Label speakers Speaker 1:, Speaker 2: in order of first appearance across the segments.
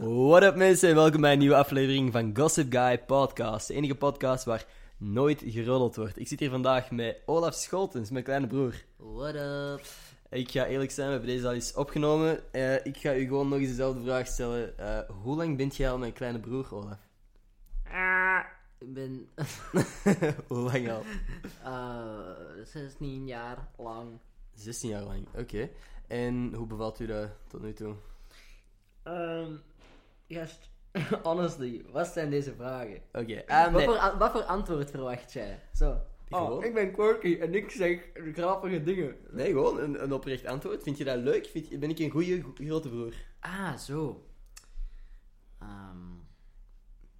Speaker 1: What up mensen en welkom bij een nieuwe aflevering van Gossip Guy Podcast. De enige podcast waar nooit geroddeld wordt. Ik zit hier vandaag met Olaf Scholtens, mijn kleine broer.
Speaker 2: What up?
Speaker 1: Ik ga eerlijk zijn, we hebben deze al eens opgenomen. Eh, ik ga u gewoon nog eens dezelfde vraag stellen. Eh, hoe lang bent jij al mijn kleine broer, Olaf?
Speaker 2: Ik ben
Speaker 1: hoe lang al?
Speaker 2: eh 16 jaar lang.
Speaker 1: 16 jaar lang, oké. En hoe bevalt u dat tot nu toe?
Speaker 2: Ehm gast, honestly, wat zijn deze vragen?
Speaker 1: Oké, ah,
Speaker 2: Wat,
Speaker 1: nee.
Speaker 2: voor, an- wat voor antwoord verwacht jij? Zo. Oh,
Speaker 1: Gewoon.
Speaker 2: ben quirky en ik zeg grappige dingen.
Speaker 1: Nee, gewoon een, een oprecht antwoord. Vind je dat leuk? Vind je- ben ik een goede grote broer?
Speaker 2: Ah, zo. Ehm,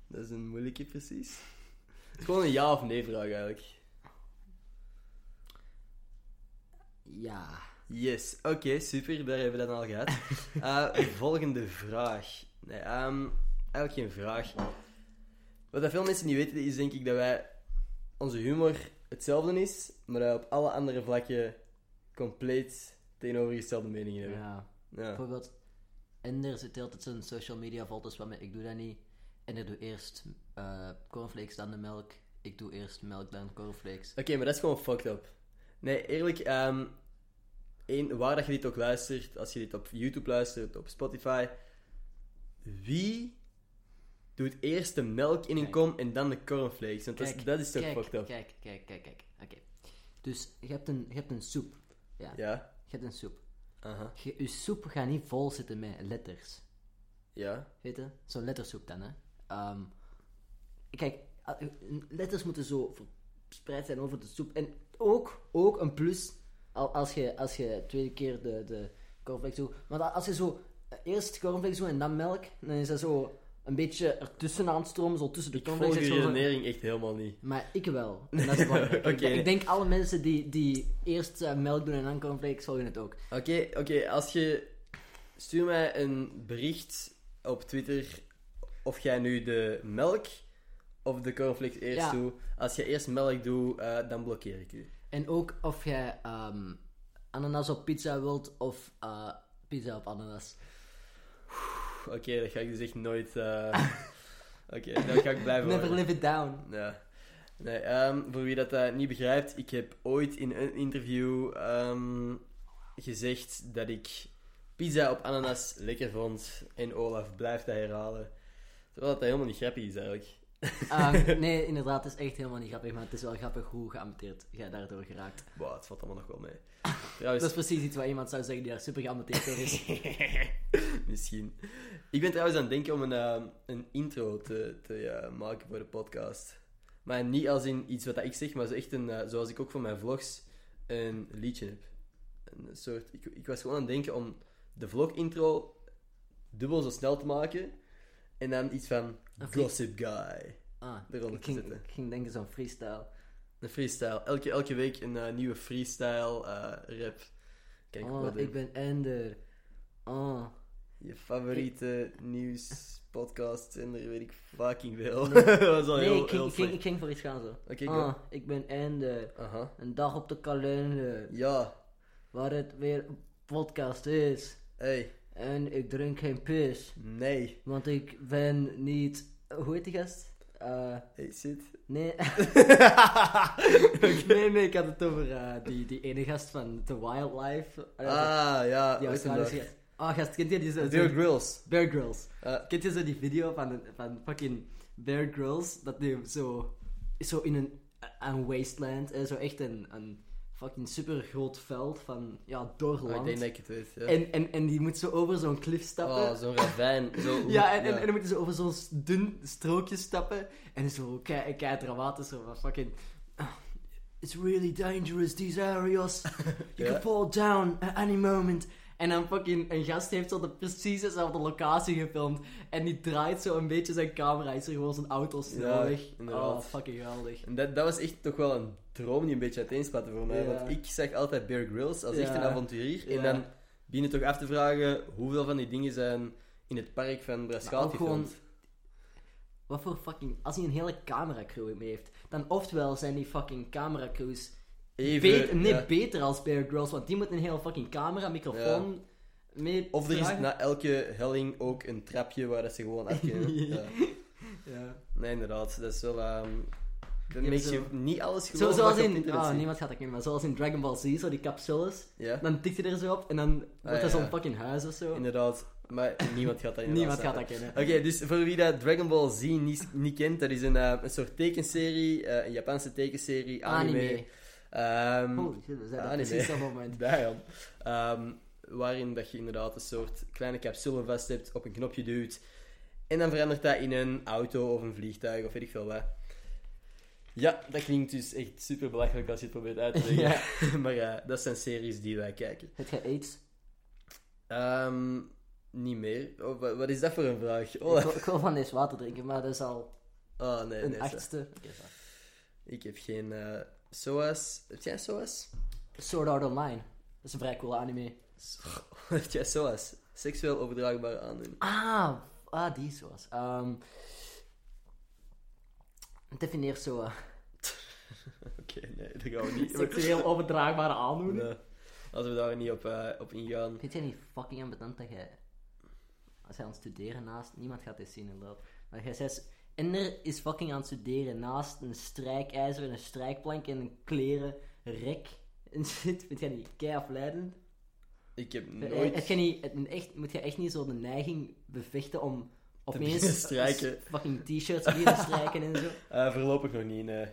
Speaker 1: Dat is een moeilijke, precies. Het is gewoon een ja of nee vraag eigenlijk.
Speaker 2: ja.
Speaker 1: Yes, oké, super, daar hebben we dat al gehad. Eh, volgende vraag. Nee, ehm, eigenlijk geen vraag. Wat dat veel mensen niet weten, is denk ik dat wij onze humor hetzelfde is, maar dat we op alle andere vlakken compleet tegenovergestelde meningen hebben.
Speaker 2: ja.
Speaker 1: Ja.
Speaker 2: Bijvoorbeeld, Ender zit altijd zijn social media foto's van mij. Ik doe dat niet. Ender doet eerst eh, cornflakes, dan de melk. Ik doe eerst melk, dan cornflakes.
Speaker 1: Oké, maar dat is gewoon fucked up. Nee, eerlijk, ehm, één, waar dat je dit ook luistert, als je dit op YouTube luistert, op Spotify, wie doet eerst de melk in een
Speaker 2: Kijk.
Speaker 1: kom en dan de cornflakes? Want dat is-
Speaker 2: Kijk,
Speaker 1: dat is toch
Speaker 2: kijk,
Speaker 1: fucked up?
Speaker 2: Kijk, kijk, kijk, kijk. Oké. Dus je hebt, een, je hebt een soep. Ja.
Speaker 1: Ja,
Speaker 2: Je hebt een soep.
Speaker 1: aha,
Speaker 2: Je, je soep gaat niet vol zitten met letters.
Speaker 1: ja,
Speaker 2: Weet je? Zo'n lettersoep dan, hè. Ehm, kijk, a- letters moeten zo verspreid zijn over de soep. En ook, ook een plus al- als je, als je tweede keer de, de cornflakes doet. Maar da- als je zo eh, eerst cornflakes doet en dan melk, dan is dat zo een beetje ertussen aan het stromen, zo tussen de
Speaker 1: Ik volg
Speaker 2: cornflakes.
Speaker 1: je
Speaker 2: echt zo- zo-
Speaker 1: redenering echt helemaal niet.
Speaker 2: maar ik wel. En dat is belangrijk.
Speaker 1: Oké.
Speaker 2: ik, denk- ik denk alle mensen die, die eerst eh, melk doen en dan cornflakes, volgen het ook.
Speaker 1: Oké, oké, als je... Stuur mij een bericht op Twitter of jij nu de melk of de cornflakes eerst
Speaker 2: Ja.
Speaker 1: doet. Als je eerst melk doet, eh, dan blokkeer ik u.
Speaker 2: En ook of jij ehm, ananas op pizza wilt of eh, pizza op ananas.
Speaker 1: Oké, dat ga ik dus echt nooit. eh, Oké, dat ga ik blijven
Speaker 2: Never
Speaker 1: horen.
Speaker 2: live it down.
Speaker 1: Ja. Nee, ehm, voor wie dat eh, niet begrijpt, ik heb ooit in een interview ehm, gezegd dat ik pizza op ananas lekker vond. En Olaf blijft dat herhalen. Terwijl dat helemaal niet grappig is eigenlijk.
Speaker 2: Ehm, nee, inderdaad, het is echt helemaal niet grappig, maar het is wel grappig hoe geamputeerd jij daardoor geraakt.
Speaker 1: Wow, het valt allemaal nog wel mee. Trouwens,
Speaker 2: Dat is precies iets wat iemand zou zeggen die daar super geamputeerd door is.
Speaker 1: misschien. Ik ben trouwens aan het denken om een, ehm, een intro te, te ja, maken voor de podcast. Maar niet als in iets wat dat ik zeg, maar zo echt een, eh, zoals ik ook voor mijn vlogs een liedje heb. Een soort, ik, ik was gewoon aan het denken om de vlog-intro dubbel zo snel te maken. En dan iets van
Speaker 2: Een free-
Speaker 1: Gossip Guy.
Speaker 2: Ah,
Speaker 1: Eronder
Speaker 2: ik, ging,
Speaker 1: zitten.
Speaker 2: ik ging denken zo'n freestyle.
Speaker 1: Een freestyle. Elke, elke week een eh, nieuwe freestyle eh, rap. Kijk, wat
Speaker 2: Oh, ik ben Ender. Oh.
Speaker 1: Je favoriete nieuwspodcast en daar weet ik fucking veel. dat was al
Speaker 2: Nee,
Speaker 1: heel,
Speaker 2: ik ging,
Speaker 1: heel
Speaker 2: ik, ging,
Speaker 1: slecht.
Speaker 2: ik ging voor iets gaan zo.
Speaker 1: Oké, go.
Speaker 2: Ah, ik ben Ender.
Speaker 1: Aha.
Speaker 2: Een dag op de kalender,
Speaker 1: Ja,
Speaker 2: waar het weer een podcast is.
Speaker 1: hey,
Speaker 2: En ik drink geen pis,
Speaker 1: nee.
Speaker 2: want ik ben niet... Hoe heet die gast? Eh,
Speaker 1: Hey, shit.
Speaker 2: nee. nee, nee, ik had het over eh, die, die ene gast van The Wildlife. Eh,
Speaker 1: Ah, ja,
Speaker 2: die
Speaker 1: ooit een
Speaker 2: Australische
Speaker 1: dag.
Speaker 2: gast. Oh, gast, kent je die zo?
Speaker 1: Bear Grylls.
Speaker 2: Bear Grylls.
Speaker 1: Eh,
Speaker 2: Kent je zo die video van, een- van fucking Bear Grylls? Dat die zo, zo in een, een wasteland, eh, zo echt een, een fucking super groot veld van, ja, doorland.
Speaker 1: oh, ik denk dat ik het weet, ja.
Speaker 2: en, en, en die moet zo over zo'n klif stappen.
Speaker 1: Oh, zo'n ravijn. Zo,
Speaker 2: ja, en, en, en dan moeten ze over zo'n s- dun strookje stappen. En zo kei, kei dramatisch, zo van fucking... "Ah, It's really dangerous, these areas. You
Speaker 1: Ja.
Speaker 2: can fall down at any moment. En dan fucking een gast heeft zo de precies dezelfde locatie gefilmd. En die draait zo een beetje zijn camera. Is er gewoon zo'n auto
Speaker 1: Ja,
Speaker 2: snel weg.
Speaker 1: inderdaad.
Speaker 2: Oh, fucking geweldig.
Speaker 1: En dat, dat was echt toch wel een droom die een beetje uiteenspatte voor mij.
Speaker 2: Ja.
Speaker 1: Want ik zag altijd Bear Grylls als echt
Speaker 2: Ja.
Speaker 1: een avonturier. En
Speaker 2: Ja.
Speaker 1: dan binnen toch af te vragen hoeveel van die dingen zijn in het park van Brascaat
Speaker 2: ook gewoon-
Speaker 1: gefilmd.
Speaker 2: Wat voor fucking... Als hij een hele cameracrew mee heeft... Dan oftewel zijn die fucking cameracrews
Speaker 1: Even,
Speaker 2: Beter, nee,
Speaker 1: ja.
Speaker 2: beter als Bear Grylls, want die moet een heel fucking camera, microfoon, Meer
Speaker 1: Of er is
Speaker 2: vragen?
Speaker 1: na elke helling ook een trapje waar dat ze gewoon uit kunnen. ja.
Speaker 2: Ja.
Speaker 1: Nee, inderdaad. Dat is wel... ehm dat
Speaker 2: Ja,
Speaker 1: maakt
Speaker 2: zo-
Speaker 1: je niet alles
Speaker 2: Zo,
Speaker 1: gewoon
Speaker 2: zoals
Speaker 1: in...
Speaker 2: in... Ah, niemand gaat dat kennen, maar zoals in Dragon Ball Z, zo die capsules.
Speaker 1: Ja,
Speaker 2: Dan tikt hij er zo op en dan wordt
Speaker 1: Ah, ja,
Speaker 2: dat zo'n
Speaker 1: ja.
Speaker 2: fucking huis of zo.
Speaker 1: inderdaad. Maar niemand gaat dat inderdaad
Speaker 2: Niemand gaat
Speaker 1: snappen.
Speaker 2: dat kennen.
Speaker 1: Oké, dus voor wie dat Dragon Ball Z niet, niet kent, dat is een, eh, een soort tekenserie, eh, een Japanse tekenserie, anime.
Speaker 2: Anime. Oh.
Speaker 1: Ehm,
Speaker 2: Holy shit, we zijn dat
Speaker 1: Anime.
Speaker 2: precies op dat moment.
Speaker 1: Daarom. Ehm, waarin dat je inderdaad een soort kleine capsule vast hebt, op een knopje duwt. En dan verandert dat in een auto of een vliegtuig of weet ik veel wat. Ja, dat klinkt dus echt super belachelijk als je het probeert uit te leggen. maar eh, dat zijn series die wij kijken.
Speaker 2: Het gaat aids.
Speaker 1: Ehm, niet meer. Oh, wa- wat is dat voor een vraag?
Speaker 2: Ik,
Speaker 1: Oh,
Speaker 2: wil, ik wil van deze water drinken, maar dat is al
Speaker 1: oh, nee,
Speaker 2: een
Speaker 1: nee. sorry.
Speaker 2: achtste. Oké, sorry.
Speaker 1: Ik heb geen eh, SOAS. Heb jij SOAS?
Speaker 2: Sword Art Online. Dat is een vrij coole anime.
Speaker 1: Heb jij SOAS? Seksueel overdraagbare aandoening.
Speaker 2: Ah, ah die is zoals. Ehm defineer zo eh,
Speaker 1: Oké, nee, dat gaan we niet.
Speaker 2: seksueel overdraagbare aandoening.
Speaker 1: Nee. Als Eh, we daar niet op, eh, op ingaan.
Speaker 2: Vind jij niet fucking ambetant dat jij... Als hij aan het studeren naast... Niemand gaat dit zien inderdaad. Maar jij zei... Ender is fucking aan het studeren naast een strijkijzer en een strijkplank en een klerenrek. En shit, vind jij niet kei afleidend?
Speaker 1: Ik heb
Speaker 2: Heb
Speaker 1: nooit.
Speaker 2: jij niet, het- echt, moet je echt niet zo de neiging bevechten om
Speaker 1: beginnen
Speaker 2: opeens
Speaker 1: strijken.
Speaker 2: fucking t-shirts te beginnen strijken en zo? Ah,
Speaker 1: Eh, voorlopig nog niet, nee.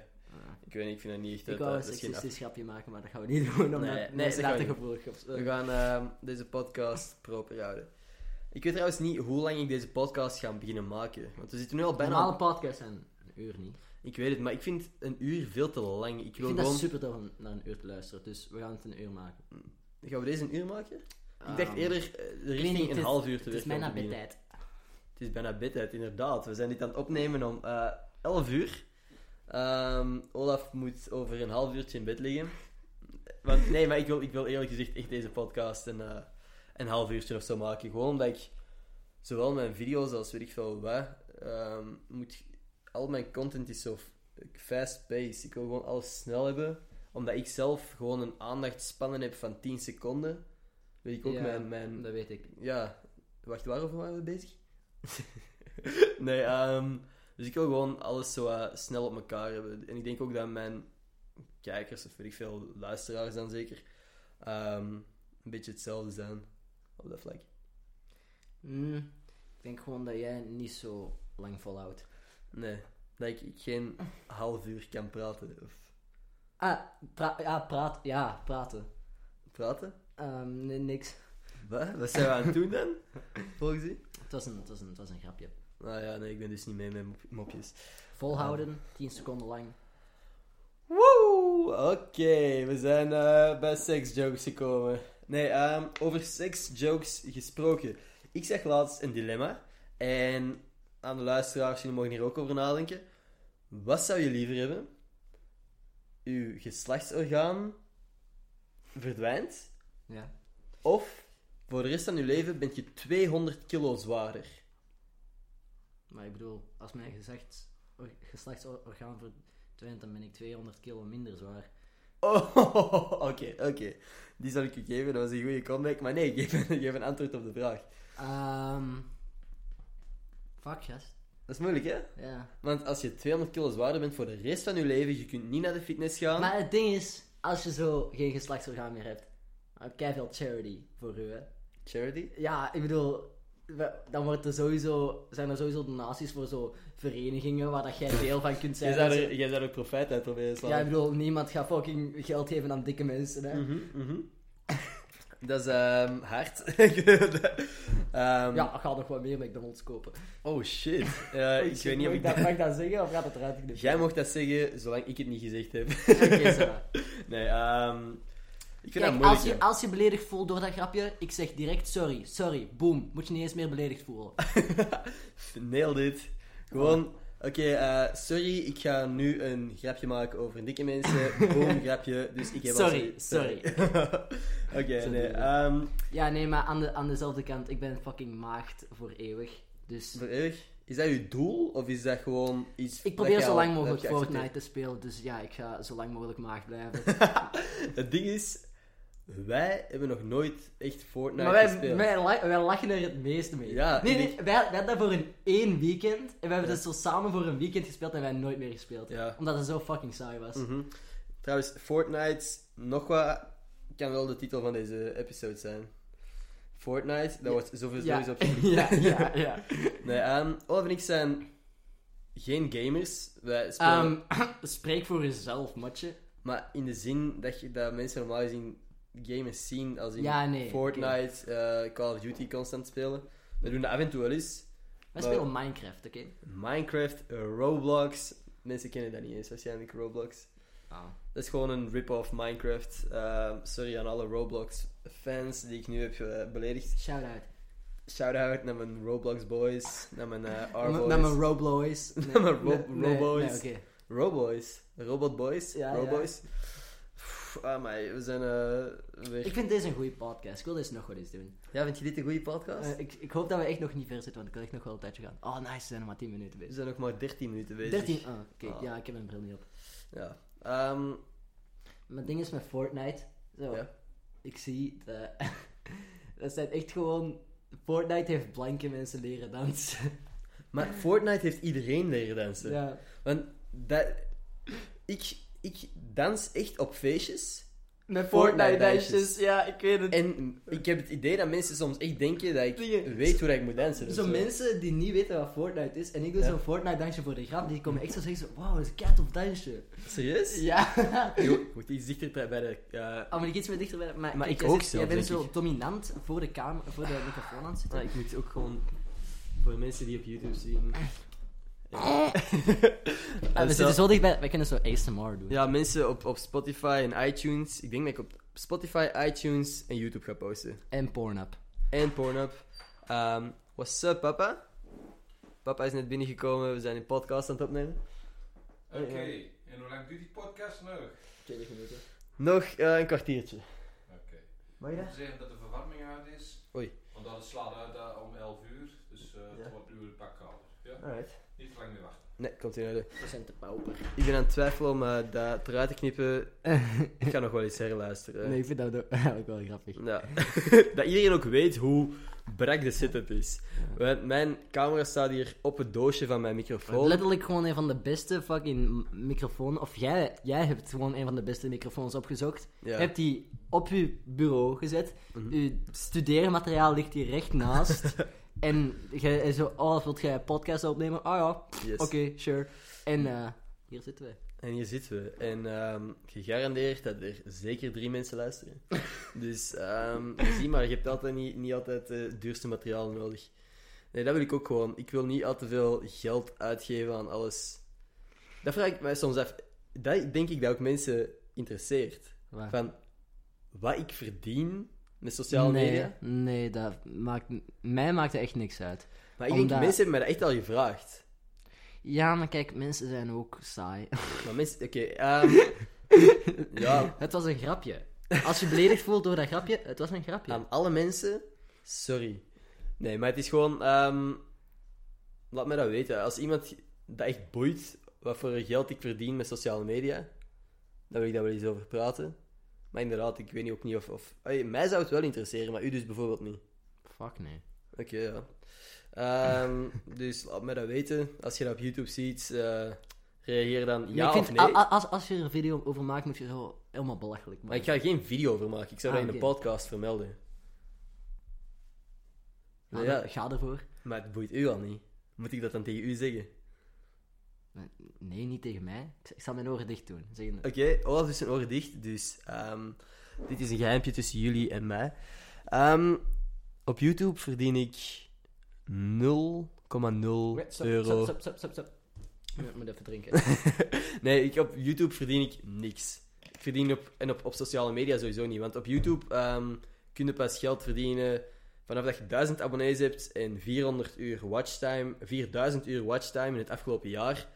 Speaker 1: Ik weet niet, ik vind dat niet echt. eh,
Speaker 2: Ik
Speaker 1: dat-
Speaker 2: wou een
Speaker 1: dat is geen af-
Speaker 2: seksistisch grapje maken, maar dat gaan we niet doen, omdat
Speaker 1: Nee, nee,
Speaker 2: nee,
Speaker 1: dat gaan
Speaker 2: laat
Speaker 1: we
Speaker 2: de
Speaker 1: niet.
Speaker 2: gevoelig op.
Speaker 1: We gaan eh, deze podcast proper houden. Ik weet trouwens niet hoe lang ik deze podcast ga beginnen maken. Want we zitten nu al bijna.
Speaker 2: Normale podcasts zijn een uur niet.
Speaker 1: Ik weet het, maar ik vind een uur veel te lang. Ik
Speaker 2: Ik
Speaker 1: wil
Speaker 2: vind
Speaker 1: gewoon.
Speaker 2: dat super tof om naar een uur te luisteren, dus we gaan het een uur maken.
Speaker 1: Gaan we deze een uur maken?
Speaker 2: Ehm,
Speaker 1: ik dacht eerder eh, de richting
Speaker 2: niet, het
Speaker 1: een
Speaker 2: is-
Speaker 1: half uur te
Speaker 2: Het is
Speaker 1: werken.
Speaker 2: bijna
Speaker 1: om te beginnen.
Speaker 2: bedtijd.
Speaker 1: Het is bijna bedtijd, inderdaad. We zijn dit aan het opnemen om eh 11 uur. Ehm, Olaf moet over een half uurtje in bed liggen. Want, nee, maar ik wil, ik wil eerlijk gezegd echt deze podcast een, eh, een half uurtje of zo maken. Gewoon omdat ik zowel mijn video's als weet ik veel wat, ehm, moet, al mijn content is zo fast-paced. Ik wil gewoon alles snel hebben. Omdat ik zelf gewoon een aandachtspannen heb van 10 seconden. Weet ik ook
Speaker 2: Ja,
Speaker 1: mijn, mijn,
Speaker 2: Dat weet ik.
Speaker 1: ja, wacht, waarover waren we bezig? nee, ehm, dus ik wil gewoon alles zo eh, snel op elkaar hebben. En ik denk ook dat mijn kijkers, of weet ik veel, luisteraars dan zeker, ehm, een beetje hetzelfde zijn op dat vlak.
Speaker 2: Mm, ik denk gewoon dat jij niet zo lang volhoudt.
Speaker 1: Nee, dat ik, ik geen half uur kan praten. Of
Speaker 2: Ah, pra- ja, praat, ja, praten.
Speaker 1: praten?
Speaker 2: Ehm, nee, niks.
Speaker 1: Wat? Wat zijn we aan het doen dan? Volgens u?
Speaker 2: Het was, een, het, was een, het was een grapje.
Speaker 1: Nou ja, nee, ik ben dus niet mee met mop- mopjes.
Speaker 2: Volhouden, 10 seconden lang.
Speaker 1: Woe! Oké, we zijn eh, bij seksjokes gekomen. Nee, ehm, over seksjokes gesproken. Ik zag laatst een dilemma. En aan de luisteraars, jullie mogen hier ook over nadenken. Wat zou je liever hebben? Uw geslachtsorgaan verdwijnt?
Speaker 2: Ja.
Speaker 1: Of voor de rest van je leven bent je 200 kilo zwaarder?
Speaker 2: Maar ik bedoel, als mijn geslachts, or- geslachtsorgaan verdwijnt, dan ben ik 200 kilo minder zwaar.
Speaker 1: Oh, oké, oké. Die zal ik u geven, dat was een goede comeback. Maar nee, geef, geef een antwoord op de vraag.
Speaker 2: Ehm fuck, gast.
Speaker 1: Dat is moeilijk, hè?
Speaker 2: Ja.
Speaker 1: Want als je 200 kilo zwaarder bent voor de rest van je leven, je kunt niet naar de fitness gaan.
Speaker 2: Maar het ding is, als je zo geen geslachtsorgaan meer hebt, dan krijg je veel charity voor u, hè.
Speaker 1: Charity?
Speaker 2: Ja, ik bedoel, we- dan wordt er sowieso, zijn er sowieso donaties voor zo verenigingen waar dat jij deel van kunt zijn.
Speaker 1: Jij zou er, jij zou er profijt uit proberen te
Speaker 2: Ja, ik
Speaker 1: slaan.
Speaker 2: bedoel, niemand gaat fucking geld geven aan dikke mensen, hè.
Speaker 1: Mhm, mhm. Dat is ehm, hard. Ehm,
Speaker 2: Ja, ga nog wat meer McDonald's kopen.
Speaker 1: Oh shit. Eh, ik weet niet of
Speaker 2: Mag
Speaker 1: ik
Speaker 2: dat...
Speaker 1: dat...
Speaker 2: Mag ik dat zeggen of gaat het eruit knippen?
Speaker 1: Jij mocht dat zeggen, zolang ik het niet gezegd heb.
Speaker 2: Oké, ça va.
Speaker 1: Nee, ehm, ik vind dat
Speaker 2: Kijk,
Speaker 1: moeilijk.
Speaker 2: als je,
Speaker 1: hè.
Speaker 2: als je beledigd voelt door dat grapje, ik zeg direct sorry, sorry, boom. Moet je niet eens meer beledigd voelen.
Speaker 1: Nailed it. Gewoon, oké, eh, sorry, ik ga nu een grapje maken over dikke mensen. Boom, grapje. Dus ik heb al
Speaker 2: Sorry,
Speaker 1: oké,
Speaker 2: Zo
Speaker 1: nee.
Speaker 2: doen we
Speaker 1: ehm,
Speaker 2: Ja, nee, maar aan, de, aan dezelfde kant, ik ben fucking maagd voor eeuwig. Dus
Speaker 1: voor eeuwig, is dat je doel? Of is dat gewoon iets...
Speaker 2: ik probeer
Speaker 1: dat je
Speaker 2: zo
Speaker 1: al-
Speaker 2: lang
Speaker 1: dat
Speaker 2: mogelijk
Speaker 1: je accepteert?
Speaker 2: Fortnite te spelen. Dus ja, ik ga zo lang mogelijk maagd blijven.
Speaker 1: Het ding is, Wij hebben nog nooit echt Fortnite
Speaker 2: Maar wij,
Speaker 1: gespeeld.
Speaker 2: wij, la- wij lachen er het meeste mee.
Speaker 1: Ja,
Speaker 2: nee,
Speaker 1: en
Speaker 2: nee wij, wij hadden dat voor een één weekend. En we hebben
Speaker 1: Ja.
Speaker 2: dat zo samen voor een weekend gespeeld en wij nooit meer gespeeld.
Speaker 1: Ja.
Speaker 2: Omdat het zo fucking saai was.
Speaker 1: Mhm. Trouwens, Fortnite, nog wat, kan wel de titel van deze episode zijn. Fortnite, dat wordt zoveel
Speaker 2: Ja.
Speaker 1: dus sowieso op
Speaker 2: ja, ja, ja.
Speaker 1: Nee, ehm Olaf en ik zijn geen gamers. Wij spelen,
Speaker 2: Ehm, spreek voor jezelf, matje.
Speaker 1: maar in de zin dat, je, dat mensen normaal gezien games zien als in
Speaker 2: Ja, nee,
Speaker 1: Fortnite, eh, Call of Duty constant spelen. We doen dat af en toe wel eens.
Speaker 2: Wij
Speaker 1: Maar-
Speaker 2: spelen Minecraft, oké?
Speaker 1: Minecraft, eh, Roblox. Mensen kennen dat niet eens, waarschijnlijk Roblox. Dat is gewoon een rip-off Minecraft. Ehm, sorry aan alle Roblox-fans die ik nu heb eh, beledigd.
Speaker 2: Shout-out.
Speaker 1: Shout-out naar mijn Roblox-boys, naar mijn eh, R-boys.
Speaker 2: Naar mijn Robloys.
Speaker 1: Naar mijn Ro-
Speaker 2: Nee, nee,
Speaker 1: Roboys.
Speaker 2: nee, oké.
Speaker 1: Roboys. Robotboys.
Speaker 2: Ja,
Speaker 1: Roboys. Pff, amai, we zijn eh, weer...
Speaker 2: Ik vind deze een goede podcast. Ik wil deze nog wel eens doen.
Speaker 1: Ja, vind je dit een goede podcast?
Speaker 2: Eh, ik, ik hoop dat we echt nog niet ver zitten, want ik wil echt nog wel een tijdje gaan. Oh, nice, we zijn nog maar 10 minuten
Speaker 1: we
Speaker 2: bezig.
Speaker 1: zijn nog maar 13 minuten bezig.
Speaker 2: 13, oh, kijk,
Speaker 1: Ah.
Speaker 2: ja, ik heb mijn bril niet op.
Speaker 1: Ja. Ehm,
Speaker 2: Mijn ding is met Fortnite. Zo,
Speaker 1: Ja.
Speaker 2: ik zie dat. dat zijn echt gewoon. Fortnite heeft blanke mensen leren dansen.
Speaker 1: maar Fortnite heeft iedereen leren dansen.
Speaker 2: ja.
Speaker 1: Want dat... Ik, ik dans echt op feestjes.
Speaker 2: Met
Speaker 1: Fortnite-dansjes.
Speaker 2: Fortnite-dansjes, ja, ik weet het.
Speaker 1: En ik heb het idee dat mensen soms echt denken dat ik
Speaker 2: Dingen.
Speaker 1: weet hoe dat ik moet dansen. dus, eh, of
Speaker 2: Zo mensen die niet weten wat Fortnite is, en ik doe
Speaker 1: Ja.
Speaker 2: zo'n Fortnite-dansje voor de grap, die komen echt zo zeggen: zo, Wauw, dat is een cat of dansje.
Speaker 1: Serieus?
Speaker 2: Ja.
Speaker 1: Jo, ik moet iets dichter bij de... eh,
Speaker 2: Oh, maar ik iets meer dichter bij de- Maar,
Speaker 1: Maar
Speaker 2: kijk,
Speaker 1: ik
Speaker 2: jij
Speaker 1: ook
Speaker 2: zit-
Speaker 1: zelf,
Speaker 2: Jij bent
Speaker 1: denk
Speaker 2: zo dominant voor de, kamer, voor de microfoon aan het zitten.
Speaker 1: Ah, ik moet ook gewoon voor mensen die op YouTube zien. Dus
Speaker 2: Ah, we zitten zo dichtbij, wij kunnen zo ASMR doen.
Speaker 1: Ja, mensen op, op Spotify en iTunes. Ik denk dat ik op Spotify, iTunes en YouTube ga posten.
Speaker 2: En Pornhub.
Speaker 1: En Pornhub. Ehm, what's up, papa? Papa is net binnengekomen, we zijn een podcast aan het opnemen.
Speaker 3: Oké,
Speaker 1: eh,
Speaker 3: en hoe lang duurt die podcast nog? Oké.
Speaker 2: 20 minuten.
Speaker 1: Nog eh, een kwartiertje.
Speaker 2: Mag je
Speaker 3: Ik moet zeggen dat de verwarming uit is.
Speaker 1: Oei.
Speaker 3: Want dat slaat uit eh, om 11 uur, dus eh
Speaker 1: Ja.
Speaker 3: het wordt nu een pak kouder. Ja?
Speaker 1: Alright.
Speaker 3: Niet te lang meer wachten.
Speaker 1: Nee, komt hier naar de-
Speaker 2: We zijn te pauper.
Speaker 1: Ik ben aan het twijfelen om eh, dat eruit te knippen. Ik ga nog wel eens herluisteren.
Speaker 2: Nee, ik vind dat ook wel grappig.
Speaker 1: Ja. dat iedereen ook weet hoe brak de setup is. Want mijn camera staat hier op het doosje van mijn microfoon.
Speaker 2: Letterlijk gewoon een van de beste fucking m- microfoon. Of jij, jij hebt gewoon een van de beste microfoons opgezocht.
Speaker 1: Ja. Mhm.
Speaker 2: Hebt die op uw bureau gezet. Uw studeermateriaal ligt hier recht naast. en jij en zo, oh, wilt jij een podcast opnemen? Ah ja,
Speaker 1: Yes.
Speaker 2: oké, sure. En eh, hier zitten we.
Speaker 1: En hier zitten we. En ehm, gegarandeerd dat er zeker drie mensen luisteren. dus ehm, zie maar, je hebt altijd niet, niet altijd eh, het duurste materiaal nodig. Nee, dat wil ik ook gewoon. Ik wil niet al te veel geld uitgeven aan alles. Dat vraag ik mij soms af. Dat denk ik dat ook mensen interesseert.
Speaker 2: Waar?
Speaker 1: Van wat ik verdien met sociale
Speaker 2: nee,
Speaker 1: media.
Speaker 2: Nee, dat maakt... Mij maakt er echt niks uit.
Speaker 1: Maar ik denk,
Speaker 2: Omdat-
Speaker 1: mensen hebben mij dat echt al gevraagd.
Speaker 2: Ja, maar kijk, mensen zijn ook saai.
Speaker 1: Maar mensen, oké, ehm, ja,
Speaker 2: het was een grapje. Als je beledigd voelt door dat grapje, het was een grapje.
Speaker 1: aan alle mensen, sorry. Nee, maar het is gewoon, ehm, laat mij dat weten. Als iemand dat echt boeit, wat voor geld ik verdien met sociale media, dan wil ik daar wel eens over praten. Maar inderdaad, ik weet niet ook niet of... of Oei, mij zou het wel interesseren, maar u dus bijvoorbeeld niet.
Speaker 2: Fuck nee.
Speaker 1: Oké, ja. Ehm, dus laat mij dat weten. Als je dat op YouTube ziet, eh, reageer dan ja
Speaker 2: ik
Speaker 1: of
Speaker 2: vind,
Speaker 1: nee.
Speaker 2: a- a- als, als je er een video over maakt, moet je zo helemaal belachelijk
Speaker 1: Maar ik
Speaker 2: maken.
Speaker 1: ga er geen video over maken. Ik zou
Speaker 2: Ah,
Speaker 1: dat in de
Speaker 2: oké.
Speaker 1: podcast vermelden.
Speaker 2: Ja,
Speaker 1: ja.
Speaker 2: dan Ga ervoor.
Speaker 1: Maar het boeit u al niet. Moet ik dat dan tegen u zeggen?
Speaker 2: Nee, niet tegen mij. Ik, ik zal mijn oren dicht doen. Zeggen,
Speaker 1: Oké, Olaf is zijn oren dicht. Dus ehm, dit is een geheimpje tussen jullie en mij. Ehm, op YouTube verdien ik 0,0
Speaker 2: Nee, stop,
Speaker 1: euro.
Speaker 2: Stop, stop, stop, stop. stop. Ik moet even drinken.
Speaker 1: Nee, ik, op YouTube verdien ik niks. Ik verdien op, en op, op sociale media sowieso niet. Want op YouTube ehm, kun je pas geld verdienen vanaf dat je 1000 abonnees hebt en 400 uur watchtime, 4000 uur watchtime in het afgelopen jaar.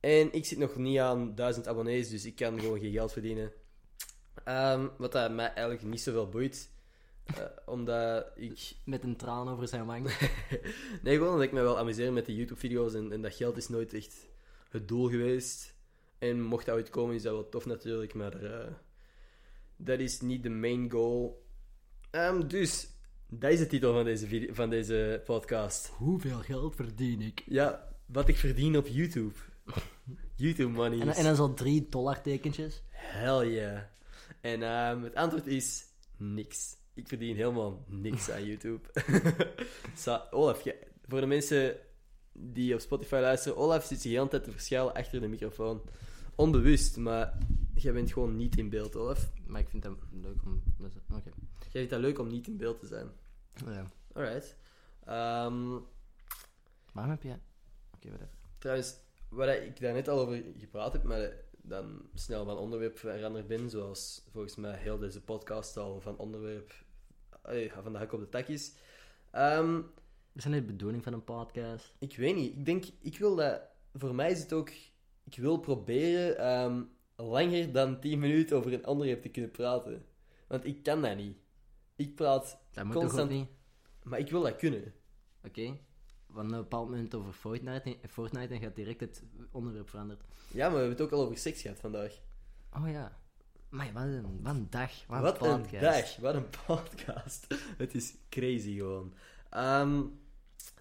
Speaker 1: En ik zit nog niet aan 1000 abonnees, dus ik kan gewoon geen geld verdienen. Ehm, wat dat mij eigenlijk niet zoveel boeit. eh, omdat ik...
Speaker 2: Met een traan over zijn wang.
Speaker 1: Nee, gewoon omdat ik me wel amuseer met de YouTube-video's en, en dat geld is nooit echt het doel geweest. En mocht dat ooit komen, is dat wel tof natuurlijk, maar eh, Dat is niet de main goal. Ehm, dus, dat is de titel van deze, video- van deze podcast.
Speaker 2: Hoeveel geld verdien ik?
Speaker 1: Ja, wat ik verdien op YouTube. YouTube money.
Speaker 2: En,
Speaker 1: is-
Speaker 2: en dan zo'n 3 dollar tekentjes.
Speaker 1: Hell yeah. En ehm, het antwoord is niks. Ik verdien helemaal niks aan YouTube. Sa- Olaf, jij- voor de mensen die op Spotify luisteren, Olaf zit zich de hele tijd te verschuilen achter de microfoon. Onbewust, maar jij bent gewoon niet in beeld, Olaf.
Speaker 2: Maar ik vind dat leuk om... met- Oké.
Speaker 1: Jij vindt dat leuk om niet in beeld te zijn.
Speaker 2: Ja.
Speaker 1: Alright. Ehm,
Speaker 2: Waarom heb je... Oké, whatever.
Speaker 1: trouwens, waar ik daar net al over gepraat heb, maar dan snel van onderwerp veranderd ben, zoals volgens mij heel deze podcast al van onderwerp eh, van de hak op de tak is. Ehm,
Speaker 2: Is dat niet de bedoeling van een podcast?
Speaker 1: ik weet niet. Ik denk, ik wil dat... Voor mij is het ook... Ik wil proberen ehm, langer dan 10 minuten over een onderwerp te kunnen praten. Want ik kan dat niet. Ik praat...
Speaker 2: Dat moet toch ook
Speaker 1: Constant.
Speaker 2: niet?
Speaker 1: Maar ik wil dat kunnen.
Speaker 2: Oké. Van een bepaald moment over Fortnite, en- Fortnite en gaat direct het onderwerp veranderd.
Speaker 1: Ja, maar we hebben het ook al over seks gehad vandaag.
Speaker 2: Oh ja. Maar wat een, wat een dag. Wat een
Speaker 1: Wat een
Speaker 2: podcast.
Speaker 1: dag, wat een podcast. Het is crazy gewoon. Ehm,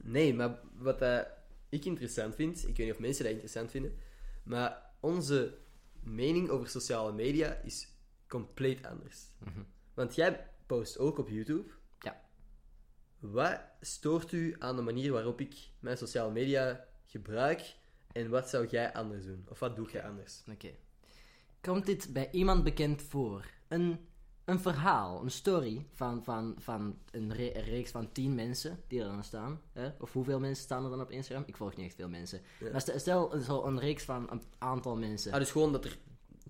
Speaker 1: nee, maar wat eh, ik interessant vind, ik weet niet of mensen dat interessant vinden, maar onze mening over sociale media is compleet anders. Want jij post ook op YouTube.
Speaker 2: Mhm. Ja.
Speaker 1: Wat stoort u aan de manier waarop ik mijn sociale media gebruik en wat zou jij anders doen? Of wat doe jij anders?
Speaker 2: Oké. Komt dit bij iemand bekend voor? Een, een verhaal, een story van, van, van een, re- een reeks van tien mensen die er dan staan. Hè? Of hoeveel mensen staan er dan op Instagram? Ik volg niet echt veel mensen. Maar stel, stel zo een reeks van een aantal mensen.
Speaker 1: Ah, dus gewoon dat er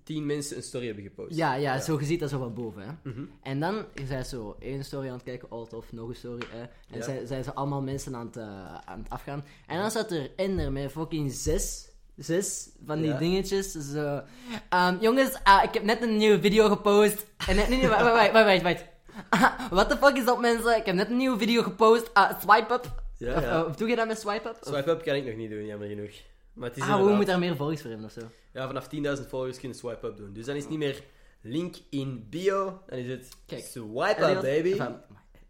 Speaker 1: tien mensen een story hebben gepost.
Speaker 2: Ja, ja, zo je ziet dat zo van boven. Hè?
Speaker 1: Mhm.
Speaker 2: En dan zijn zo één story aan het kijken, alt of nog een story. Hè? En
Speaker 1: Ja.
Speaker 2: zijn, zijn ze allemaal mensen aan het, eh, aan het afgaan. En dan staat er Ender met fucking zes. Zes van die
Speaker 1: Ja.
Speaker 2: dingetjes. Zo. Ehm, jongens, ah, ik heb net een nieuwe video gepost. En, nee, nee, wacht, wacht, wacht, wacht. wacht. Ah, what the fuck is dat, mensen? Ik heb net een nieuwe video gepost. Ah, swipe up.
Speaker 1: Ja,
Speaker 2: of,
Speaker 1: ja.
Speaker 2: eh, of doe je dat met swipe up? Of-
Speaker 1: Swipe up kan ik nog niet doen, jammer genoeg. Maar het is
Speaker 2: ah, we
Speaker 1: inderdaad-
Speaker 2: moeten daar meer volgers voor hebben of zo.
Speaker 1: Ja, vanaf 10.000 followers kunnen swipe up doen. Dus dan is het niet meer link in bio, dan is het
Speaker 2: Kijk,
Speaker 1: swipe up,
Speaker 2: Ah, Elliot-
Speaker 1: baby. Ah,
Speaker 2: Enfin,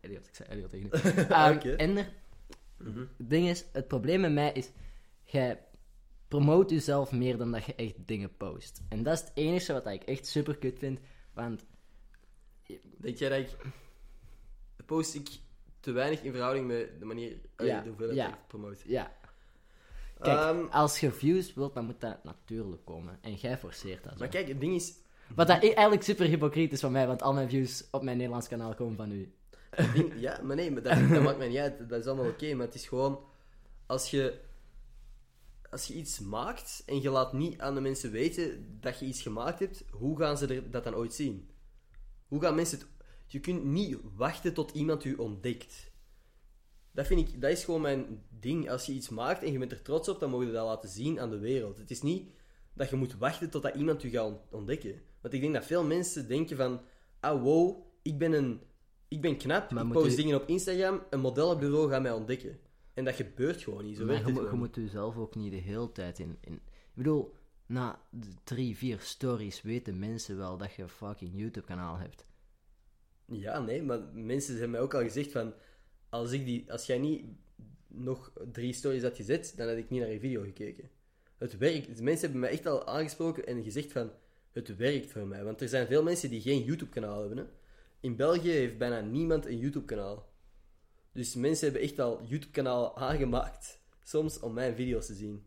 Speaker 2: Elliot, ik zei Elliot tegen u. Ehm,
Speaker 1: Oké. Mhm.
Speaker 2: En er- het ding is, het probleem met mij is, jij promoot jezelf meer dan dat je echt dingen post. En dat is het enige wat ik echt super kut vind, want
Speaker 1: Denk jij dat ik... Post ik te weinig in verhouding met de manier... eh,
Speaker 2: Ja,
Speaker 1: de hoeveelheid
Speaker 2: ja.
Speaker 1: dat ik promote.
Speaker 2: ja. Kijk,
Speaker 1: Ehm,
Speaker 2: als je views wilt, dan moet dat natuurlijk komen. En jij forceert dat. zo.
Speaker 1: maar kijk, het ding is...
Speaker 2: Wat dat i- eigenlijk super hypocriet is van mij, want al mijn views op mijn Nederlands kanaal komen van u.
Speaker 1: het ding- ja, maar nee, maar dat, dat maakt mij niet uit. Dat is allemaal oké, maar het is gewoon... Als je... Als je iets maakt en je laat niet aan de mensen weten dat je iets gemaakt hebt, hoe gaan ze er, dat dan ooit zien? Hoe gaan mensen het... Je kunt niet wachten tot iemand u ontdekt. Dat vind ik... Dat is gewoon mijn ding. Als je iets maakt en je bent er trots op, dan mogen je dat laten zien aan de wereld. Het is niet dat je moet wachten totdat iemand u gaat ont- ontdekken. Want ik denk dat veel mensen denken van... Ah, wow, ik ben een... Ik ben knap,
Speaker 2: Maar
Speaker 1: ik
Speaker 2: moet
Speaker 1: post
Speaker 2: u-
Speaker 1: dingen op Instagram, een modellenbureau gaat mij ontdekken. En dat gebeurt gewoon niet, zo
Speaker 2: Maar
Speaker 1: werkt
Speaker 2: je,
Speaker 1: het
Speaker 2: moet- je
Speaker 1: gewoon.
Speaker 2: moet jezelf ook niet de hele tijd in, in... Ik bedoel, na de drie, vier stories weten mensen wel dat je een fucking YouTube-kanaal hebt.
Speaker 1: Ja, nee, maar mensen hebben mij ook al gezegd van... Als, ik die, als jij niet nog drie stories had gezet, dan had ik niet naar je video gekeken. Het werkt. De mensen hebben mij echt al aangesproken en gezegd van... Het werkt voor mij. Want er zijn veel mensen die geen YouTube-kanaal hebben. Hè? In België heeft bijna niemand een YouTube-kanaal. Dus mensen hebben echt al YouTube-kanaal aangemaakt. Soms om mijn video's te zien.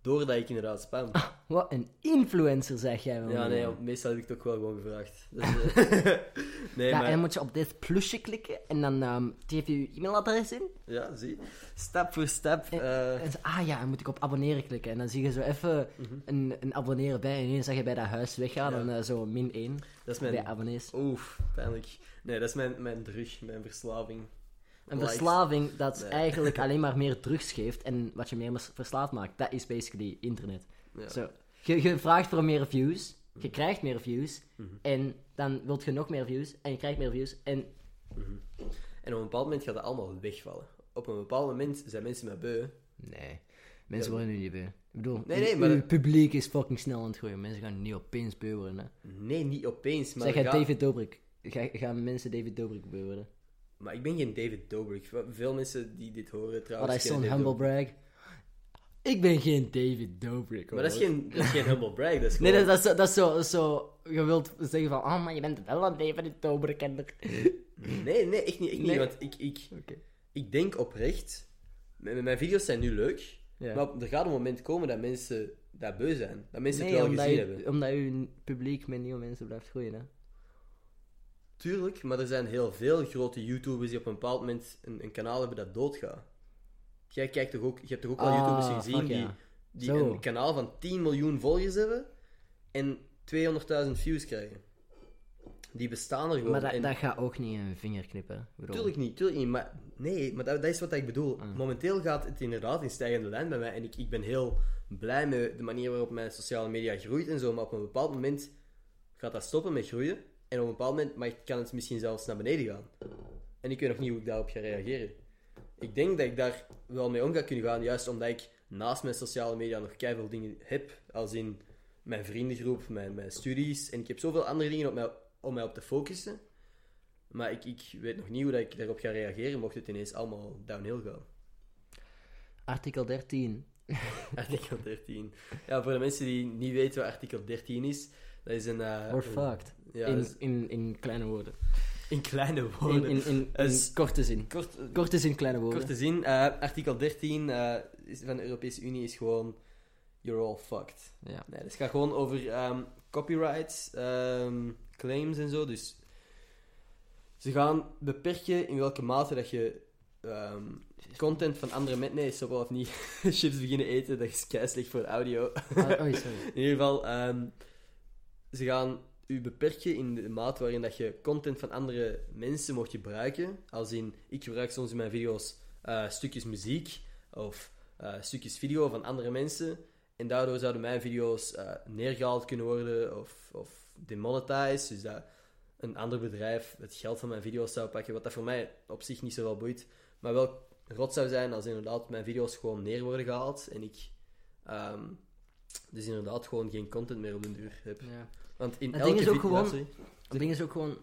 Speaker 1: Doordat ik inderdaad spam.
Speaker 2: Wat een influencer, zeg jij wel.
Speaker 1: Ja,
Speaker 2: man.
Speaker 1: nee,
Speaker 2: Ja,
Speaker 1: meestal heb ik het ook wel gewoon gevraagd. Dus, eh, nee,
Speaker 2: en dan moet je op dit plusje klikken en dan ehm geef je je e-mailadres in.
Speaker 1: Ja, zie. Stap voor stap. eh, Mhm.
Speaker 2: En, zo, ah ja, dan moet ik op abonneren klikken. En dan zie je zo even een, een abonneren bij. En ineens zag je bij dat huis weggaan
Speaker 1: Ja.
Speaker 2: en eh, zo min 1
Speaker 1: dat is
Speaker 2: bij
Speaker 1: mijn...
Speaker 2: abonnees.
Speaker 1: Oef, pijnlijk. Nee, dat is mijn, mijn drug, mijn verslaving.
Speaker 2: Een
Speaker 1: Likes.
Speaker 2: verslaving dat
Speaker 1: Nee.
Speaker 2: eigenlijk alleen maar meer drugs geeft. En wat je meer vers- verslaafd maakt, dat is basically internet.
Speaker 1: Ja.
Speaker 2: Zo. Je, je vraagt voor meer views, je krijgt meer views,
Speaker 1: Mhm.
Speaker 2: en dan wilt je nog meer views, en je krijgt meer views, en
Speaker 1: En op een bepaald moment gaat dat allemaal wegvallen. Op een bepaald moment zijn mensen mij beu.
Speaker 2: Nee. Mensen worden nu niet beu. Ik bedoel,
Speaker 1: Nee, nee, maar
Speaker 2: uw
Speaker 1: dat-
Speaker 2: publiek is fucking snel aan het groeien. Mensen gaan niet opeens beu worden. Hè.
Speaker 1: Nee, niet opeens, maar...
Speaker 2: Zeg jij
Speaker 1: ga-
Speaker 2: David Dobrik? Ga- Gaan mensen David Dobrik beu worden?
Speaker 1: Maar ik ben geen David Dobrik. Wa- Veel mensen die dit horen
Speaker 2: Oh,
Speaker 1: trouwens...
Speaker 2: dat is zo'n
Speaker 1: kennen
Speaker 2: humble
Speaker 1: David Dobrik.
Speaker 2: brag. Ik ben geen David Dobrik.
Speaker 1: Maar dat is
Speaker 2: hoor.
Speaker 1: geen, dat is geen humble brag, dat is
Speaker 2: Nee,
Speaker 1: gewoon...
Speaker 2: dat, dat, is, zo- dat, is zo, dat is zo... Je wilt zeggen van... Oh, maar je bent wel een David Dobrik. en dat-
Speaker 1: Nee, nee, echt niet. Echt niet
Speaker 2: Nee.
Speaker 1: Want ik, ik,
Speaker 2: Oké.
Speaker 1: ik denk oprecht... Mijn, mijn video's zijn nu leuk,
Speaker 2: Ja.
Speaker 1: maar er gaat een moment komen dat mensen daar beu zijn. Dat mensen
Speaker 2: Nee,
Speaker 1: het wel
Speaker 2: omdat
Speaker 1: gezien
Speaker 2: je,
Speaker 1: hebben.
Speaker 2: omdat je publiek met nieuwe mensen blijft groeien, hè.
Speaker 1: Tuurlijk, maar er zijn heel veel grote YouTubers die op een bepaald moment een, een kanaal hebben dat doodgaat. Jij kijkt toch ook, je hebt toch ook al
Speaker 2: Ah,
Speaker 1: YouTubers gezien
Speaker 2: fuck
Speaker 1: die,
Speaker 2: ja.
Speaker 1: die
Speaker 2: Zo.
Speaker 1: een kanaal van 10 miljoen volgers hebben en 200.000 views krijgen. Die bestaan er gewoon.
Speaker 2: Maar dat,
Speaker 1: en
Speaker 2: dat gaat ook niet in een vinger knippen. hè. Ik bedoel,
Speaker 1: Tuurlijk niet, tuurlijk niet. Maar nee, maar dat, dat is wat ik bedoel. Momenteel gaat het inderdaad in stijgende lijn bij mij. En ik, ik ben heel blij met de manier waarop mijn sociale media groeit en zo. Maar op een bepaald moment gaat dat stoppen met groeien. En op een bepaald moment maar kan het misschien zelfs naar beneden gaan. En ik weet nog niet hoe ik daarop ga reageren. Ik denk dat ik daar wel mee om ga kunnen gaan. Juist omdat ik naast mijn sociale media nog keihard dingen heb. Als in mijn vriendengroep, mijn, mijn studies. En ik heb zoveel andere dingen op mij, om mij op te focussen. Maar ik, ik weet nog niet hoe dat ik daarop ga reageren, mocht het ineens allemaal downhill gaan.
Speaker 2: Artikel 13.
Speaker 1: Artikel 13. Ja, voor de mensen die niet weten wat artikel 13 is, dat is een... eh,
Speaker 2: We're
Speaker 1: een-
Speaker 2: fucked.
Speaker 1: Ja,
Speaker 2: in,
Speaker 1: dat is-
Speaker 2: in, in kleine woorden.
Speaker 1: in kleine
Speaker 2: In,
Speaker 1: woorden.
Speaker 2: in, in, in
Speaker 1: Is-
Speaker 2: korte zin.
Speaker 1: kort, eh,
Speaker 2: Korte zin, kleine woorden.
Speaker 1: korte zin, eh, artikel 13 eh, is, van de Europese Unie is gewoon... You're all fucked.
Speaker 2: Ja.
Speaker 1: Nee, dus het gaat gewoon over ehm, copyrights, ehm, claims en zo. Dus ze gaan beperken in welke mate dat je ehm, content van andere mensen... Nee, stop wel of niet. Chips beginnen eten, dat is kei slecht voor de audio.
Speaker 2: Ah, oei, sorry.
Speaker 1: In ieder geval, ehm, ze gaan u beperken in de mate waarin dat je content van andere mensen mocht gebruiken. Als in, ik gebruik soms in mijn video's eh, stukjes muziek of eh, stukjes video van andere mensen. En daardoor zouden mijn video's eh, neergehaald kunnen worden of, of demonetized. Dus dat een ander bedrijf het geld van mijn video's zou pakken. Wat dat voor mij op zich niet zoveel boeit. Maar wel rot zou zijn als inderdaad mijn video's gewoon neer worden gehaald. En ik ehm, dus inderdaad gewoon geen content meer op den duur heb.
Speaker 2: Ja.
Speaker 1: Want in
Speaker 2: Het
Speaker 1: elke
Speaker 2: ding is ook
Speaker 1: vi-
Speaker 2: gewoon-
Speaker 1: Ja, sorry.
Speaker 2: Het ding is ook gewoon...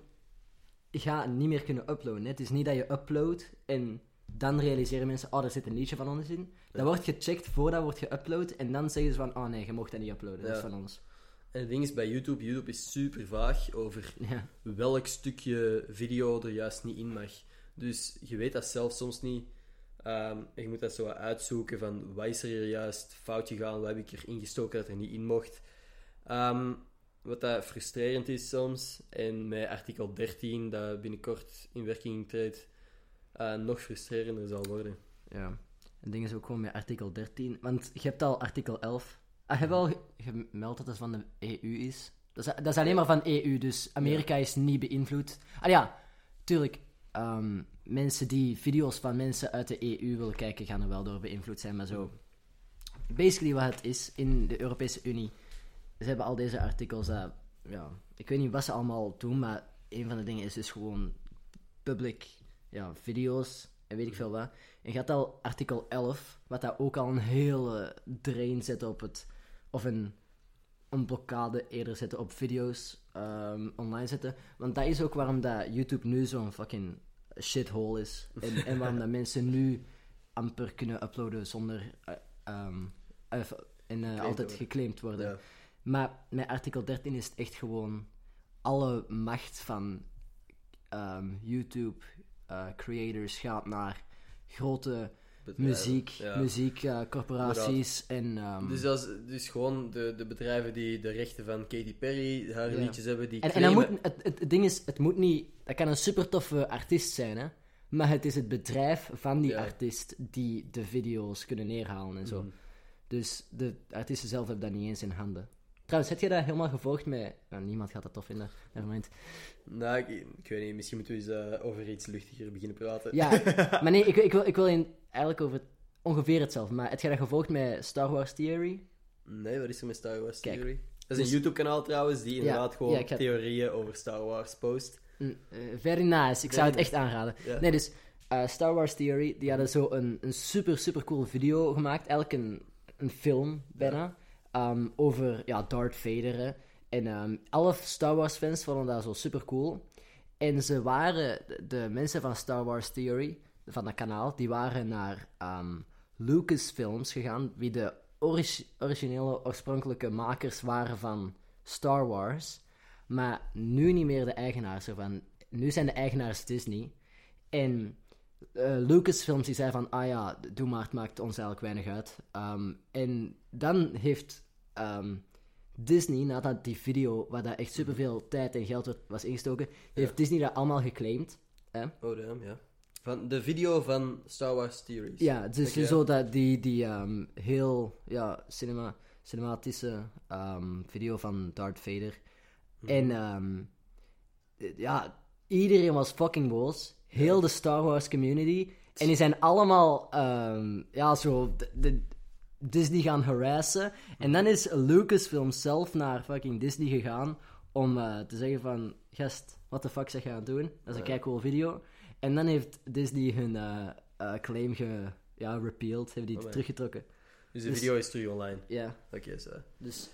Speaker 2: Je gaat niet meer kunnen uploaden. hè. Het is niet dat je uploadt en dan realiseren mensen... Oh, daar zit een liedje van ons in. Dat wordt gecheckt voordat wordt geüpload. En dan zeggen ze van... Oh nee, je mocht dat niet uploaden. Dat is
Speaker 1: Ja.
Speaker 2: van ons.
Speaker 1: En het ding is bij YouTube, YouTube is super vaag over
Speaker 2: Ja.
Speaker 1: welk stukje video er juist niet in mag. Dus je weet dat zelf soms niet. Ehm, en je moet dat zo wat uitzoeken van wat is er hier juist fout gegaan, wat heb ik erin gestoken dat er niet in mocht. Ehm, wat dat frustrerend is soms, en met artikel 13 dat binnenkort in werking treedt, eh, nog frustrerender zal worden.
Speaker 2: Ja. Het ding is ook gewoon met artikel 13. Want je hebt al artikel 11. Ah, je hebt al ge- gemeld dat dat van de EU is. Dat is, dat is alleen maar van EU, dus Amerika is niet beïnvloed. Ah ja, tuurlijk. ehm, mensen die video's van mensen uit de EU willen kijken, gaan er wel door beïnvloed zijn, maar zo. Basically wat het is in de Europese Unie. Ze hebben al deze artikels. dat ja, ik weet niet wat ze allemaal doen, maar een van de dingen is dus gewoon public ja, video's en weet ik veel wat. En je had al artikel 11, wat daar ook al een hele drain zet op het. Of een, een blokkade eerder zetten op video's ehm, online zetten. Want dat is ook waarom dat YouTube nu zo'n fucking shithole is. En, en waarom dat mensen nu amper kunnen uploaden zonder. eh, ehm, eh, en eh, altijd
Speaker 1: worden.
Speaker 2: geclaimd worden.
Speaker 1: Ja.
Speaker 2: Maar met artikel 13 is het echt gewoon alle macht van ehm, YouTube eh, creators gaat naar grote
Speaker 1: Bedrijven,
Speaker 2: muziek,
Speaker 1: ja.
Speaker 2: muziekcorporaties en ehm,
Speaker 1: Dus, dat is, dus gewoon de, de bedrijven die de rechten van Katy Perry, haar
Speaker 2: Ja.
Speaker 1: liedjes hebben, die
Speaker 2: en, en dat
Speaker 1: claimen...
Speaker 2: moet, het, het, het ding is, het moet niet. Dat kan een super toffe artiest zijn, hè? Maar het is het bedrijf van die
Speaker 1: Ja. Mhm.
Speaker 2: artiest die de video's kunnen neerhalen en zo. Dus de artiesten zelf hebben dat niet eens in handen. Trouwens, heb je dat helemaal gevolgd met. nou, niemand gaat dat tof vinden, nevermind.
Speaker 1: Nou, ik, ik weet niet, misschien moeten we eens eh, over iets luchtiger beginnen praten.
Speaker 2: Ja, maar nee, ik, ik wil, ik wil in, eigenlijk over het- ongeveer hetzelfde. Maar heb je dat gevolgd met Star Wars Theory?
Speaker 1: Nee, wat is er met Star Wars
Speaker 2: Kijk,
Speaker 1: Theory? Dat is
Speaker 2: dus-
Speaker 1: een YouTube-kanaal trouwens, die inderdaad gewoon
Speaker 2: ja, ik ga-
Speaker 1: theorieën over Star Wars post.
Speaker 2: Mm, eh, very nice, ik zou het echt aanraden.
Speaker 1: Ja.
Speaker 2: Nee, dus eh, Star Wars Theory, die hadden zo een, een super, super cool video gemaakt. Eigenlijk een een film bijna. ehm, over ja, Darth Vader. hè. En ehm, elf Star Wars fans vonden dat zo super cool. En ze waren, de, de mensen van Star Wars Theory, van dat kanaal, die waren naar ehm Lucasfilms gegaan, wie de ori- originele, oorspronkelijke makers waren van Star Wars. Maar nu niet meer de eigenaars ervan. Nu zijn de eigenaars Disney. En eh, Lucasfilms die zei van, ah ja, doe maar, het maakt ons eigenlijk weinig uit. Ehm, en dan heeft ehm, Disney, nadat die video, waar daar echt superveel tijd en geld werd- was ingestoken, heeft Disney dat allemaal geclaimd. Hè?
Speaker 1: Oh, damn, ja. Van de video van Star Wars Theories.
Speaker 2: Ja, dus
Speaker 1: Oké.
Speaker 2: zo dat die, die ehm, heel ja, cinema, cinematische ehm, video van Darth Vader. En ehm, eh, ja, iedereen was fucking boos. Heel de Star Wars community. En die zijn allemaal ehm, ja, zo de, de- Disney gaan harassen. En dan is Lucasfilm zelf naar fucking Disney gegaan om eh, te zeggen van... Gast, wat de fuck zeg je aan het doen? Dat is een kijk cool video. En dan heeft Disney hun eh, eh, claim ge, ja, repealed. Hebben die
Speaker 1: Oh, ja.
Speaker 2: teruggetrokken.
Speaker 1: Dus de
Speaker 2: Dus-
Speaker 1: video is terug online.
Speaker 2: Ja,
Speaker 1: Oké, zo.
Speaker 2: dus